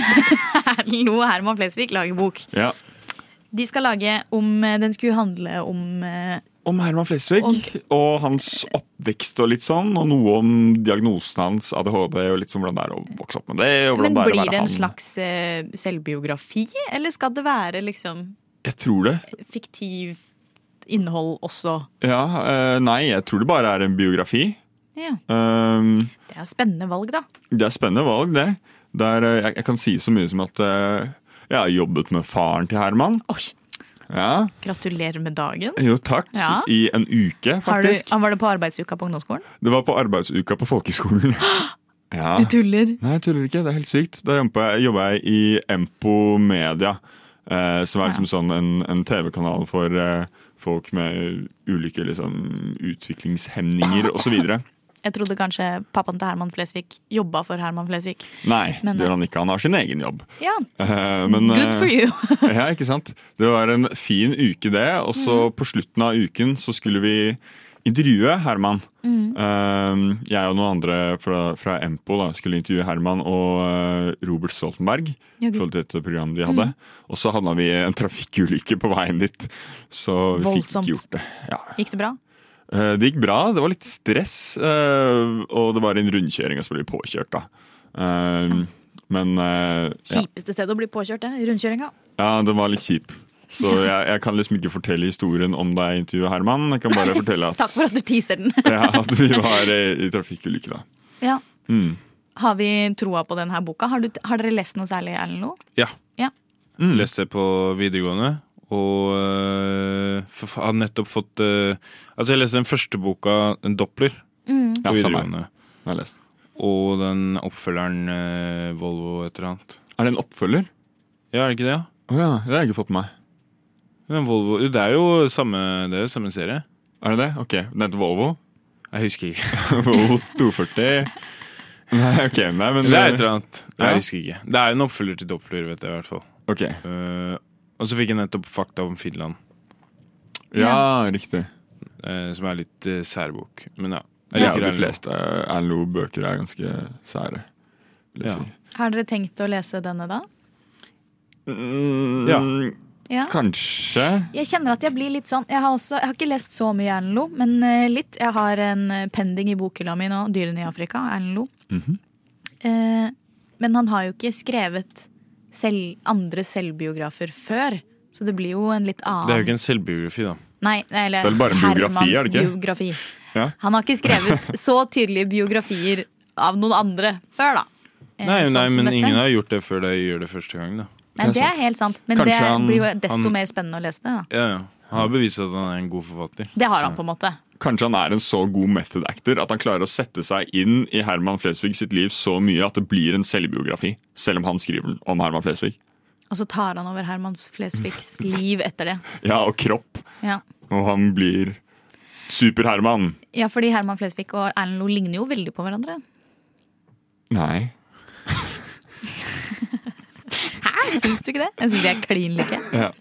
B: Erlend Loe og Herman Flesvig lager bok.
F: Ja.
B: De skal lage om eh, Den skulle handle om eh,
F: Om Herman Flesvig
B: Og-
F: og hans oppvekst og litt sånn, og noe om diagnosen hans, ADHD, og litt sånn hvordan det er å vokse opp med det. Og hvordan
B: Men
F: det er å
B: blir
F: være
B: det en
F: han.
B: slags eh, selvbiografi, eller skal det være liksom
F: Jeg tror det.
B: fiktiv innhold også?
F: Ja, eh, nei, jeg tror det bare er en biografi.
B: Ja.
F: Um,
B: Det er spennende valg, da.
F: Det er spennende valg, det. Der, eh, jeg, jeg kan si så mye som at eh, jeg har jobbet med faren til Herman.
B: Oi,
F: Ja,
B: Gratulerer med dagen.
F: jo takk.
B: Ja.
F: I en uke,
B: Har du,
F: faktisk.
B: ah, var det på arbeidsuka på ungdomsskolen?
F: Det var på arbeidsuka på folkeskolen. Ja.
B: Du tuller!
F: Nei, jeg tuller ikke. Det er helt sykt. Da jobba jeg, jobba jeg i Empo Media, eh, som er liksom sånn en, en TV-kanal for eh, folk med ulike liksom, utviklingshemninger osv.
B: Jeg trodde kanskje pappaen til Herman Flesvig jobba for Herman Flesvig.
F: Nei,
B: Men,
F: det gjør han ikke. Han har sin egen jobb.
B: Ja,
F: Eh, men,
B: good
F: eh,
B: for you!
F: Ja, ikke sant? Det var en fin uke det, og
B: Mm.
F: så på slutten av uken så skulle vi intervjue Herman.
B: Mm.
F: Eh, jeg og noen andre fra, fra Empo da, skulle intervjue Herman og eh, Robert Stoltenberg.
B: Ja, Mm.
F: I
B: gud.
F: forhold til dette programmet de hadde. Og så havna vi i en trafikkulykke på veien dit. Så vi
B: Voldsomt.
F: fikk ikke gjort det. Ja.
B: Gikk det bra?
F: Eh, Det gikk bra, det var litt stress, eh, og det var en rundkjøring, og så ble vi påkjørt, da. Eh, Men eh, ja.
B: Kjipeste stedet å bli påkjørt, det. Rundkjøringa.
F: Ja, den var litt kjip. Så jeg, jeg kan liksom ikke fortelle historien om deg intervjuet Herman. Jeg kan bare fortelle at,
B: Takk for at du teaser den.
F: ja, at vi var eh, i trafikkulykke, da.
B: ja.
F: Mm.
B: Har vi troa på denne boka? Har, du, har dere lest noe særlig, Erlend Loe?
C: Ja. Mm.
B: Ja.
C: Leste det på videregående. Og øh, for, har nettopp fått øh, Altså, jeg leste den første boka, en Doppler, på
F: Ja, samme her.
C: videregående.
F: Den har jeg lest.
C: Og den oppfølgeren øh, Volvo et eller annet.
F: Er det en oppfølger?
C: Ja, er det ikke det? ja?
F: Å ja, det har jeg ikke fått med meg.
C: Den Volvo, det er jo samme, det er jo samme serie.
F: Er det det? Ok, Den heter Volvo.
C: Jeg husker ikke.
F: Volvo 240. Nei, ok, nei, men
C: Det er et eller annet.
F: Ja.
C: Jeg husker ikke. Det er en oppfølger til Doppler, vet jeg i hvert fall.
F: Ok,
C: Øh, og så fikk jeg nettopp fakta om Finland,
F: Ja, riktig.
C: øh, som er litt øh, særbok. Men ja.
F: Ja,
C: liker
F: de
C: Erlend.
F: fleste Erlend Loe-bøker er ganske sære. vil jeg
C: Ja.
F: si.
B: Har dere tenkt å lese denne da?
F: Mm,
C: Ja.
B: Ja.
F: Kanskje.
B: Jeg kjenner at jeg blir litt sånn Jeg har, også, jeg har ikke lest så mye Erlend Loe, men eh, litt. Jeg har en eh, pending i bokhylla mi nå, 'Dyrene i Afrika', Erlend Loe. eh, men han har jo ikke skrevet selv, andre selvbiografer før, så det blir jo en litt annen
C: Det er jo ikke en selvbiografi, da.
B: Nei, eller
F: Det er vel bare en biografi, er det ikke?
B: Hermans biografi.
F: Ja.
B: Han har ikke skrevet så tydelige biografier av noen andre før, da. Eh,
C: Nei,
B: sånn
C: nei,
B: som
C: men
B: dette.
C: ingen har gjort det før de gjør det første gang, da.
B: Nei, det er helt sant. Men
F: Kanskje
B: det
F: han-
B: blir jo desto
C: han-
B: mer spennende å lese det. Da.
C: Ja, ja. Han har bevist at han er en god forfatter.
B: Det har han på en måte.
F: Kanskje han er en så god method actor at han klarer å sette seg inn i Herman Flesvig sitt liv så mye at det blir en selvbiografi, selv om han skriver den om Herman Flesvig.
B: Og så tar han over Herman Flesvigs liv etter det.
F: Ja, og kropp.
B: Ja,
F: Og han blir Super-Herman.
B: ja fordi Herman Flesvig og Erlend Loe ligner jo veldig på hverandre.
F: Nei.
B: Hæ, syns du ikke det? Jeg syns de er klin like.
F: Ja.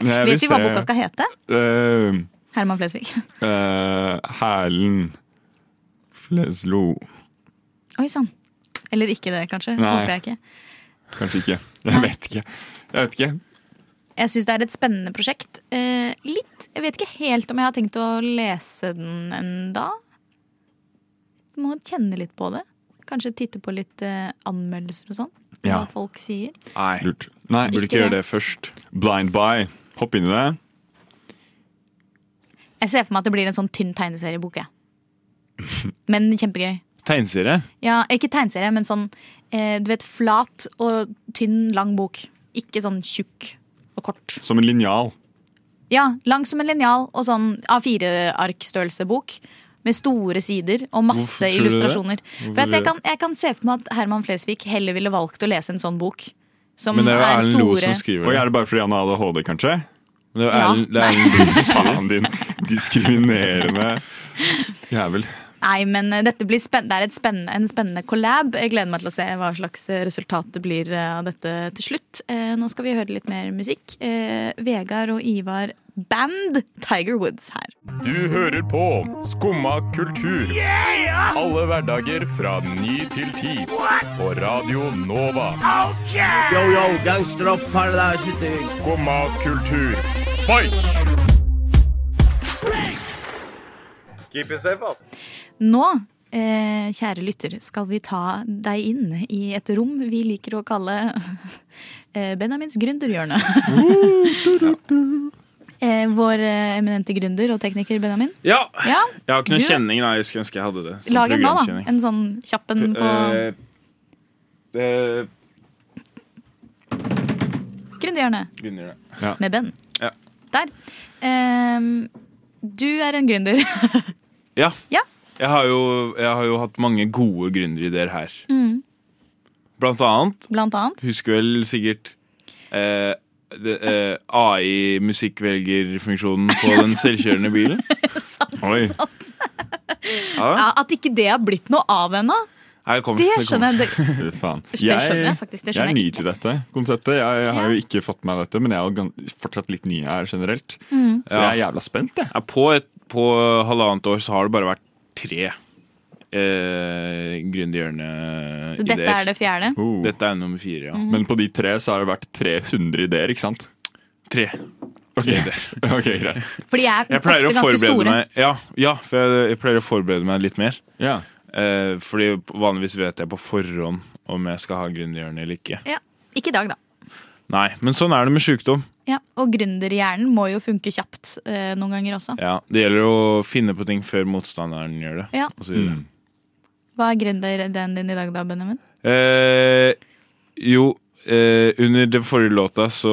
F: Men jeg vil
B: Vet vi hva
F: se,
B: boka skal hete?
F: eh,
B: Herman Flesvig.
F: eh, Herlen Fleslo
B: Oi sann. Eller ikke det, kanskje. Håper
F: Nei.
B: jeg ikke.
F: Kanskje ikke. Jeg vet ikke. Jeg vet ikke.
B: Jeg syns det er et spennende prosjekt. Eh, litt Jeg vet ikke helt om jeg har tenkt å lese den enda. Må kjenne litt på det. Kanskje titte på litt eh, anmeldelser og sånn.
F: Ja.
B: Hva folk sier.
C: Nei,
F: Lurt. Nei,
C: Burde
B: Ikke
C: ikke
B: det.
C: gjøre det først.
F: Blind by. Hopp inn i det.
B: Jeg ser for meg at det blir en sånn tynn tegneseriebok. Jeg. Men kjempegøy.
C: Tegneserie?
B: Ja, ikke tegneserie, men sånn eh, du vet, flat og tynn, lang bok. Ikke sånn tjukk og kort.
F: Som en linjal.
B: Ja, lang som en linjal og sånn A4-arkstørrelsebok. Med store sider og masse
C: Hvorfor tror du det?
B: illustrasjoner. For at
C: tror
B: jeg,
C: du-
B: kan, jeg kan se for meg at Herman Flesvig heller ville valgt å lese en sånn bok. Som
C: Men det er jo
B: er
C: Erlend Loe
B: store
C: som skriver
F: Og
C: det.
F: er det bare fordi han har ADHD, kanskje?
C: Men Det er jo
B: Ja.
C: Erlend- det er Erlend Loe.
F: Faen din diskriminerende jævel.
B: Nei, men eh, dette blir spenn- det er et spennende, en spennende collab. Jeg gleder meg til å se hva slags eh, resultat det blir eh, av dette til slutt. Eh, nå skal vi høre litt mer musikk. Eh, Vegard og Ivar Band Tiger Woods her.
J: Du hører på Skumma kultur. Alle hverdager fra ny til ti. På Radio Nova. Skumma kultur. Fight!
B: Nå, eh, kjære lytter, skal vi ta deg inn i et rom vi liker å kalle eh, Benjamins gründerhjørne. Eh, Vår eh, eminente gründer og tekniker Benjamin.
C: Ja!
B: Ja,
C: Jeg har ikke noe
B: Du-
C: kjenning, nei. Jeg skulle ønske jeg hadde det. Sånn
B: Lag en nå, da.
C: programkjenning.
B: En sånn kjapp en på
C: Eh, det-
B: gründerhjørnet
C: begynner det.
B: med Ben.
C: Ja.
B: Der. Ehm, du er en gründer.
C: Ja.
B: Ja.
C: Jeg, har jo, jeg har jo hatt mange gode gründerideer her.
B: Mm.
C: Blant annet
B: Blant annet.
C: husker vel sikkert eh, det, eh, AI-musikkvelgerfunksjonen på den selvkjørende bilen.
F: Oi.
C: Ja.
B: Ja, at ikke det har blitt noe av ennå,
C: Her kommer,
B: det skjønner jeg. Det,
F: Fy faen.
B: det skjønner jeg faktisk. Det
F: jeg er
B: skjønner
F: ny
B: jeg.
F: til dette konseptet. Jeg, jeg har
B: Ja.
F: jo ikke fått med meg dette, men jeg er jo gan- fortsatt litt ny her generelt.
B: Mm.
F: Så jeg er jævla spent, jeg.
C: Ja, på, et, på halvannet år så har det bare vært tre eh, gründerhjørne-ideer.
B: Så dette er det Mm. fjerde.
F: Oh.
C: Dette er nummer fire, ja.
F: Men på de tre så har det vært 300 ideer, ikke sant?
C: Tre.
F: Ok, ok, greit.
B: For de er
C: Jeg pleier å
B: ofte ganske
C: forberede
B: store.
C: meg Ja, ja for jeg, jeg pleier å forberede meg litt mer.
F: Ja.
C: Eh, fordi vanligvis vet jeg på forhånd om jeg skal ha gründerhjørne eller ikke.
B: Ja. Ikke i dag, da.
C: Nei, men sånn er det med sjukdom.
B: Ja, Og gründerhjernen må jo funke kjapt eh, noen ganger også.
C: Ja, det gjelder å finne på ting før motstanderen gjør det.
B: Ja.
C: Og så videre.
B: Hva er gründeren din i dag, da, Benjamin?
C: Eh, jo, eh, under den forrige låta så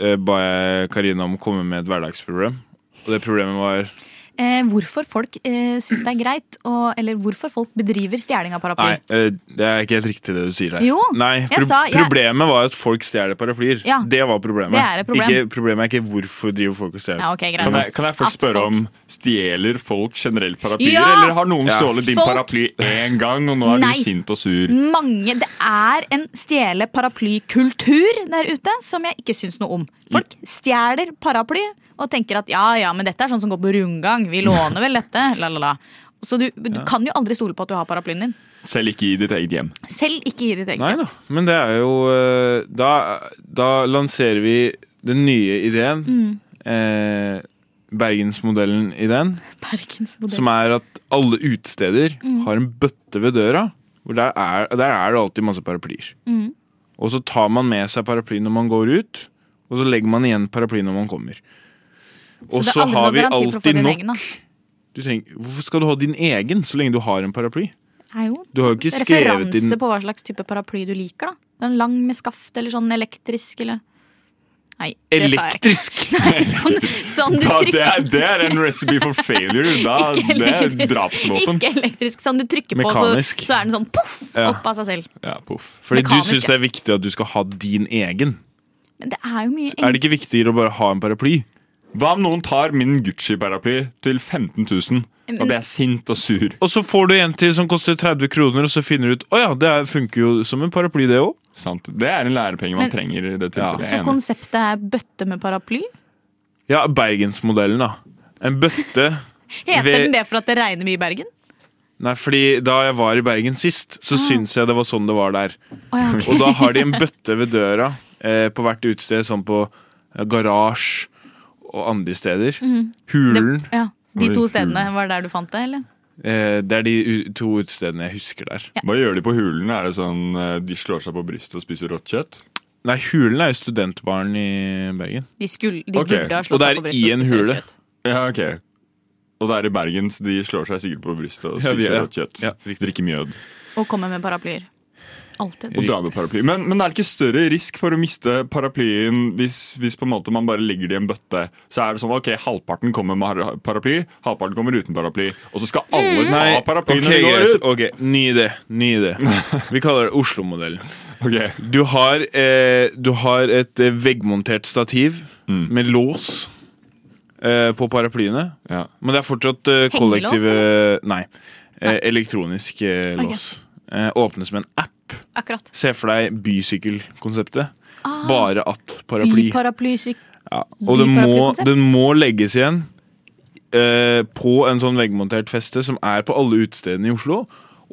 C: eh, ba jeg Karina om å komme med et hverdagsproblem. Og det problemet var
B: Eh, hvorfor folk eh, syns det er greit, å- eller hvorfor folk bedriver stjeling av
C: Nei,
B: paraply.
C: eh, det er ikke helt riktig det du sier her.
B: Jo,
C: Nei,
B: jeg sa- jeg-
C: Problemet var at folk stjeler paraplyer.
B: Ja,
C: det var problemet.
B: det er et problem.
C: Ikke, problemet er ikke hvorfor driver folk og stjeler.
B: Ja, ok, greit.
F: Kan jeg, kan jeg først
B: At
F: spørre
B: folk-
F: om stjeler folk generelt paraplyer,
B: Ja!
F: eller har noen
C: Ja.
F: stjålet din
B: Folk-
F: paraply én gang, og nå er
B: Nei.
F: du sint og sur?
B: Mange, Det er en stjele-paraply-kultur der ute som jeg ikke syns noe om. Folk stjeler paraply og tenker at ja, ja, men dette er sånn som går på rundgang. Vi låner vel dette. La, la, la. Så du, du
C: Ja.
B: kan jo aldri stole på at du har paraplyen din.
F: Selv ikke i ditt eget hjem.
B: Selv ikke i ditt eget.
C: Nei da, men det er jo eh, Da, da lanserer vi den nye ideen.
B: Mm.
C: Eh, Bergensmodellen-ideen.
B: Bergensmodell.
C: Som er at alle utesteder
B: Mm.
C: har en bøtte ved døra. Hvor der er, der er det alltid masse paraplyer.
B: Mm.
C: Og så tar man med seg paraply når man går ut, og så legger man igjen paraply når man kommer.
B: Så
C: Og
B: det er
C: så
B: aldri
C: har
B: noen
C: vi
B: garanti for å få
C: alltid
B: din
C: nok
B: egen, da.
C: du trenger, Hvorfor skal du ha din egen så lenge du har en paraply?
B: er jo
C: Du har jo ikke skrevet din
B: referanse på hva slags type paraply du liker. da En lang med skaft eller sånn elektrisk eller Nei, det sa jeg ikke.
C: Elektrisk!
B: Nei, sånn, sånn du
F: Da, det,
B: trykker
F: er, det er en recipe for failure. Da,
B: Ikke
F: det er
B: elektrisk.
F: drapsvåpen.
B: Ikke elektrisk, sånn du trykker på, så,
C: Mekanisk.
B: så er den sånn poff
C: Ja.
B: opp av seg selv.
F: Ja, poff.
C: Fordi
B: Mekanisk,
C: du syns det er viktig at du skal ha din egen.
B: Men det er jo mye
C: Er det ikke viktigere å bare ha en paraply?
F: Hva om noen tar min Gucci-paraply til 15 000? Da blir jeg sint og sur.
C: Og så får du en til som koster 30 kroner, og så finner du ut å ja, det er- funker jo som en paraply, det òg.
F: Sant? Det er en lærepenge
B: Men-
F: man trenger. i det
C: Ja.
F: tilfellet.
B: Så
F: Jeg er enig.
B: konseptet er bøtte med paraply?
C: Ja, Bergensmodellen, da. En bøtte
B: Heter
C: Ved-
B: den det for at det regner mye i Bergen?
C: Nei, fordi da jeg var i Bergen sist, så syntes jeg det var sånn det var der.
B: Å ja, Ah. ok.
C: Og da har de en bøtte ved døra eh, på hvert utested, sånn på eh, garasje og andre steder.
B: Mhm.
C: Hulen.
B: Det, ja. De
F: Oi,
B: to
F: kul.
B: stedene var der du fant det, eller?
C: Eh, det er de u to utestedene jeg husker der.
F: Hva gjør de på hulen? Er det sånn eh, De slår seg på brystet og spiser rått kjøtt?
C: Nei, Hulen er jo studentbaren i Bergen.
B: De, skulle, de
F: Ok,
B: burde ha
C: og
B: slått
C: det
B: seg
C: er
B: på brystet
C: i en
B: og spist
C: hule.
B: rødt kjøtt.
F: Ja, ok Og det er i Bergen, så de slår seg sikkert på brystet og
C: Ja, vi-
F: spiser
C: ja.
F: rått kjøtt.
C: Ja, riktig.
F: Drikker mjød.
B: Og kommer med paraplyer. Alltid.
F: Og drar med paraply. Men, men er det ikke større risk for å miste paraplyen hvis, hvis på en måte man bare legger det i en bøtte? Så er det sånn ok, halvparten kommer med har- paraply, halvparten kommer uten paraply. Og så skal
B: Mm.
F: alle ta
C: Nei, ok,
F: paraply når de går
C: greit.
F: ut!
C: Ok, Ny idé. Ny idé. Vi kaller det Oslo-modellen.
F: Ok,
C: Du har, eh, du har et eh, veggmontert stativ
F: Mm.
C: med lås eh, på paraplyene.
F: ja.
C: Men det er fortsatt eh, kollektive Nei. Eh, elektronisk eh,
B: Ok.
C: lås. Eh, åpnes med en app.
B: Akkurat.
C: Se for deg bysykkelkonseptet. Bare at paraply.
B: Byparaplysyk...
C: Ja. Og den må,
B: byparaplykonsept.
C: den må legges igjen eh, på en sånn veggmontert feste som er på alle utestedene i Oslo.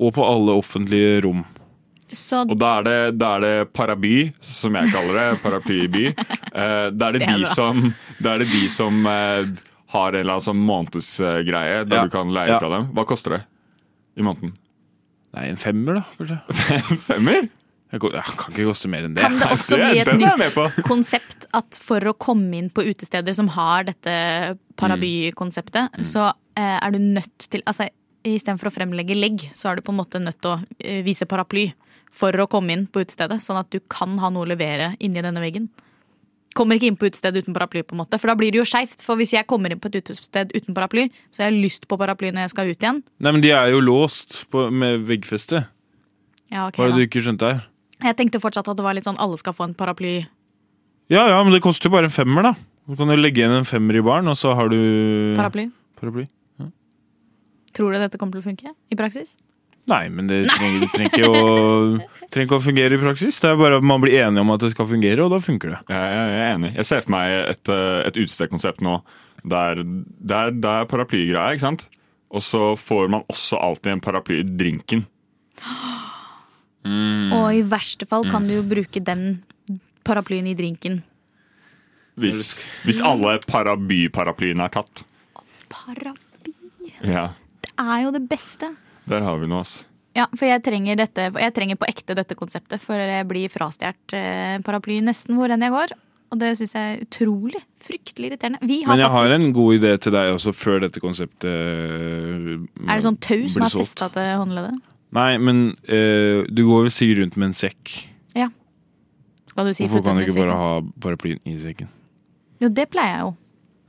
C: Og på alle offentlige rom.
B: Så
F: Og da er, det, da er det paraby, som jeg kaller det. Paraplyby. Eh, da er
B: Det er
F: det, de
B: bra.
F: som, da er det de som eh, har en eller annen sånn månedsgreie der
C: Ja.
F: du kan leie
C: Ja.
F: fra dem. Hva koster det i måneden?
C: Nei, en femmer, da, kanskje.
F: Femmer?
C: Jeg ko- ja, kan ikke koste mer enn det.
B: kan det også
F: det-
B: bli et
F: den er jeg med
B: nytt
F: på.
B: konsept at for å komme inn på utesteder som har dette parabykonseptet,
F: Mm.
B: så eh, er du nødt til Altså istedenfor å fremlegge legg, så er du på en måte nødt til å eh, vise paraply for å komme inn på utestedet, sånn at du kan ha noe å levere inni denne veggen. Kommer ikke inn på utestedet uten paraply, på en måte for da blir det jo skeivt. For hvis jeg kommer inn på et utested uten paraply, så har jeg lyst på paraply når jeg skal ut igjen.
C: Nei, men de er jo låst på, med veggfeste.
B: Ja, ok
C: Hva er
B: da.
C: det du ikke skjønte her?
B: Jeg tenkte fortsatt at det var litt sånn alle skal få en paraply.
C: Ja, ja, men det koster jo bare en femmer, da. Du kan jo legge igjen en femmer i baren, og så har du
B: paraply.
C: paraply.
B: Tror du dette kommer til å funke i praksis?
C: Nei, men det trenger, det trenger, ikke å, trenger ikke å fungere i praksis. Det er bare at man blir enige om at det skal fungere, og da funker det.
F: Ja, jeg jeg er enig. Jeg ser for meg et, eh, et utestedkonsept nå. Der det er, det er paraplygreia, ikke sant? Og så får man også alltid en paraply i drinken.
C: Mm.
B: Og i verste fall kan du jo bruke den paraplyen i drinken.
F: Hvis, hvis alle paraby-paraplyene er tatt.
B: Paraply
F: Ja,
B: er jo det beste.
F: Der har vi noe, altså.
B: Ja, for jeg trenger, dette, jeg trenger på ekte dette konseptet, for jeg blir frastjålet eh, paraply nesten hvor enn jeg går. Og det syns jeg er utrolig. Fryktelig irriterende. Vi har
C: Men jeg har
B: faktisk
C: en god idé til deg også, før dette konseptet eh,
B: Er det sånn tau som
C: blir
B: er
C: solgt.
B: festa til håndleddet?
C: Nei, men eh, du går vel sikkert rundt med en sekk.
B: Skal du si
C: Hvorfor kan
B: føttene
C: du ikke
B: i
C: bare
B: sekken?
C: ha paraplyen i sekken?
B: Jo, det pleier jeg jo.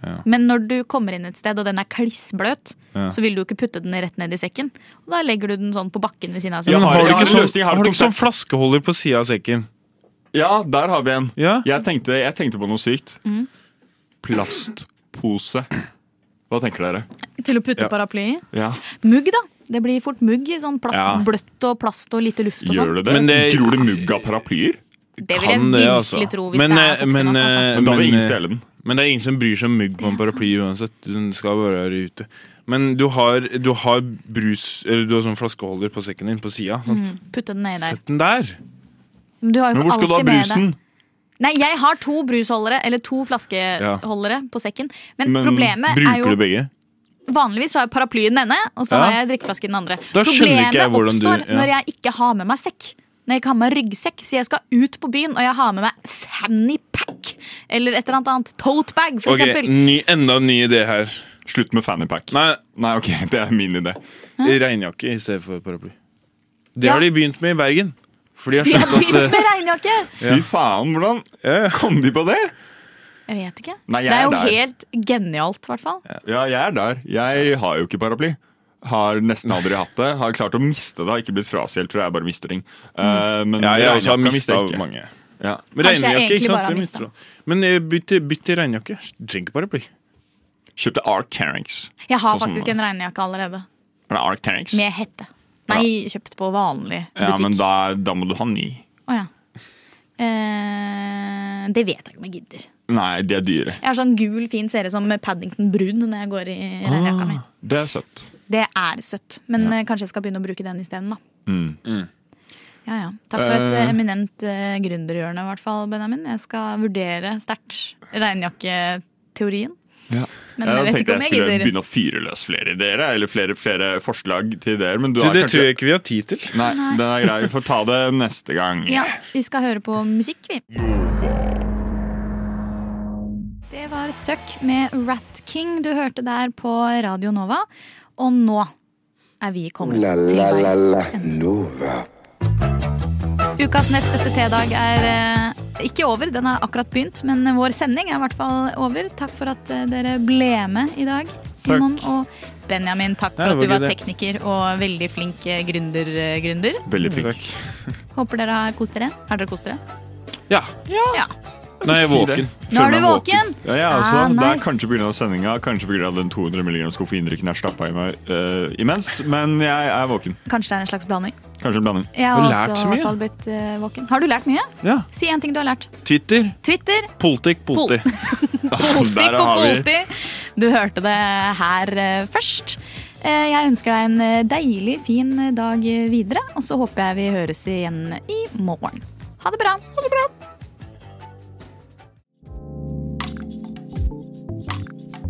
C: Ja.
B: Men når du kommer inn et sted og den er klissbløt,
C: Ja.
B: så vil du jo ikke putte den rett ned i sekken. Og da legger du den sånn på bakken ved siden av seg.
F: Ja,
C: Men
F: har-
C: har du
F: jeg har
C: ikke
F: en
C: sånn,
F: løsning, jeg har et
C: har du ikke sånn
F: konsept.
C: flaskeholder på sida av sekken?
F: Ja, der har vi en.
C: Ja?
F: Jeg tenkte, jeg tenkte på noe sykt.
B: Mm.
F: Plastpose. Hva tenker dere?
B: Til å putte
C: Ja.
B: paraply i.
F: Ja,
B: Mugg, da. Det blir fort mugg i sånn pla-
C: Ja.
B: bløtt og plast og lite luft og
F: Gjør
B: sånn.
F: det det?
C: Men det- Eh,
F: Gror det mugg av paraplyer?
B: Det vil jeg virkelig tro hvis
C: men,
B: det er
C: eh,
B: fuktig
C: men,
B: nok, altså.
C: eh,
F: Men da vil ingen
C: eh,
F: stjele den.
C: Men det er ingen som bryr seg om mygg på en paraply uansett. Den skal bare være ute. Men du har, du har brus Eller du har sånn flaskeholder på sekken din på sida.
B: Mm, putte den nedi der.
C: Sett den der!
B: Men du har jo
F: Men
B: ikke
F: hvor skal du ha
B: alltid med deg
F: brusen?
B: Nei, jeg har to brusholdere, eller to flaskeholdere, på sekken. Men,
F: Men
B: problemet er
C: Bruker
B: jo
C: du begge?
B: Vanligvis har jeg paraplyen den ene, og så
C: Ja.
B: har jeg drikkeflaske i den andre.
C: Da skjønner
B: Problemet
C: ikke jeg hvordan du-
B: oppstår
C: ja.
B: når jeg ikke har med meg sekk. Når jeg ikke har med meg ryggsekk, så jeg skal ut på byen, og jeg har med meg fannypack eller et eller annet annet. Totebag, for
C: Ok,
B: eksempel.
C: ny, enda en ny idé her.
F: Slutt med fannypack.
C: Nei,
F: Nei, ok, det er min idé.
C: regnjakke i stedet for paraply. Det
B: Ja.
C: har de begynt med i Bergen. For de har
B: Vi har
C: skjønt at
B: begynt
C: eh,
B: med regnjakke!
F: Fy faen, hvordan kom de på det?
B: Jeg vet ikke.
F: Nei, jeg
B: det er
F: er
B: jo
F: der.
B: helt genialt, i hvert fall.
F: Ja, jeg er der. Jeg har jo ikke paraply. Har nesten aldri hatt det. Har klart å miste det. Har ikke blitt frastjålet, tror jeg. Bare mister ting. Eh, men
C: Mm. Ja, jeg også har
F: regnjakka
C: mista
F: mister jeg ikke.
C: mange.
F: Ja.
C: Men
B: Kanskje jeg
C: regnjakke,
B: egentlig bare
C: ikke sant?
B: har
C: Det
B: mistet.
C: mister du. Men eh, bytt til- bytt til regnjakke. Du trenger ikke paraply.
F: Kjøpte Arc Terranks.
B: Jeg har
F: Sånn som-
B: faktisk en regnjakke allerede.
F: Er det Arc Terranks?
B: Med hette. Nei, kjøpt på vanlig butikk.
F: Ja, men da, da må du ha ny.
B: Å ja. Eh, det vet jeg ikke om jeg gidder.
F: Nei, de er dyre.
B: Jeg har sånn gul, fin serie som Paddington Brun når jeg går i
F: Ah.
B: regnjakka
C: Ah,
B: mi.
F: Det er søtt.
B: Det er søtt, men eh, kanskje jeg skal begynne å bruke den isteden, da.
F: Mm.
B: Ja, ja. Takk for et eh,
F: Eh.
B: eminent uh, gründerhjørne, i hvert fall, Benjamin. Jeg skal vurdere sterkt regnjakketeorien.
F: Ja.
B: Men jeg vet ikke om jeg
F: Jeg skulle
B: gidder.
F: begynne å fyre løs flere ideer, eller flere, flere forslag til ideer. Men du
C: Du,
F: har
C: det
F: kanskje
C: tror jeg ikke vi har tid til.
F: Nei, den er grei. Vi får ta det neste gang.
B: Ja, vi skal høre på musikk, vi. Det var Søkk med Rat King du hørte der på Radio Nova. Og nå er vi kommet til veis ende. Ukas nest beste T-dag er eh, ikke over, den har akkurat begynt, men vår sending er i hvert fall over. Takk for at eh, dere ble med i dag, Simon og Benjamin. Takk
C: Nei,
B: for at
C: det
B: du
C: var
B: var
C: gøy, det.
B: tekniker og veldig flink eh, gründer. eh, gründer.
F: Veldig flink.
C: Takk.
B: Håper dere har kost dere. Har dere kost dere?
C: Ja.
B: Ja.
C: Nå er jeg
F: Si det.
C: våken.
B: Nå
F: Føler
B: er du
F: meg
B: våken!
F: Ja, jeg også.
B: Ah,
F: Det er
B: nice.
F: kanskje pga. sendinga, kanskje pga. den 200 mg koffeindrikken jeg stappa i meg eh, imens. Men jeg er våken.
B: Kanskje det er en slags blanding.
F: Kanskje en blanding.
B: Jeg
C: Du
B: har
C: har
B: også
C: lært
B: i
C: så mye.
B: hvert fall blitt eh, våken. Har du lært mye?
C: Ja.
B: Si én ting du har lært.
C: Twitter,
B: Twitter,
C: politikk, politi.
B: polti
F: Der
B: og
F: har vi-
B: polti. Du hørte det her eh, først. Eh, Jeg ønsker deg en eh, deilig, fin dag videre, og så håper jeg vi høres igjen i morgen. Ha det bra. Ha det bra.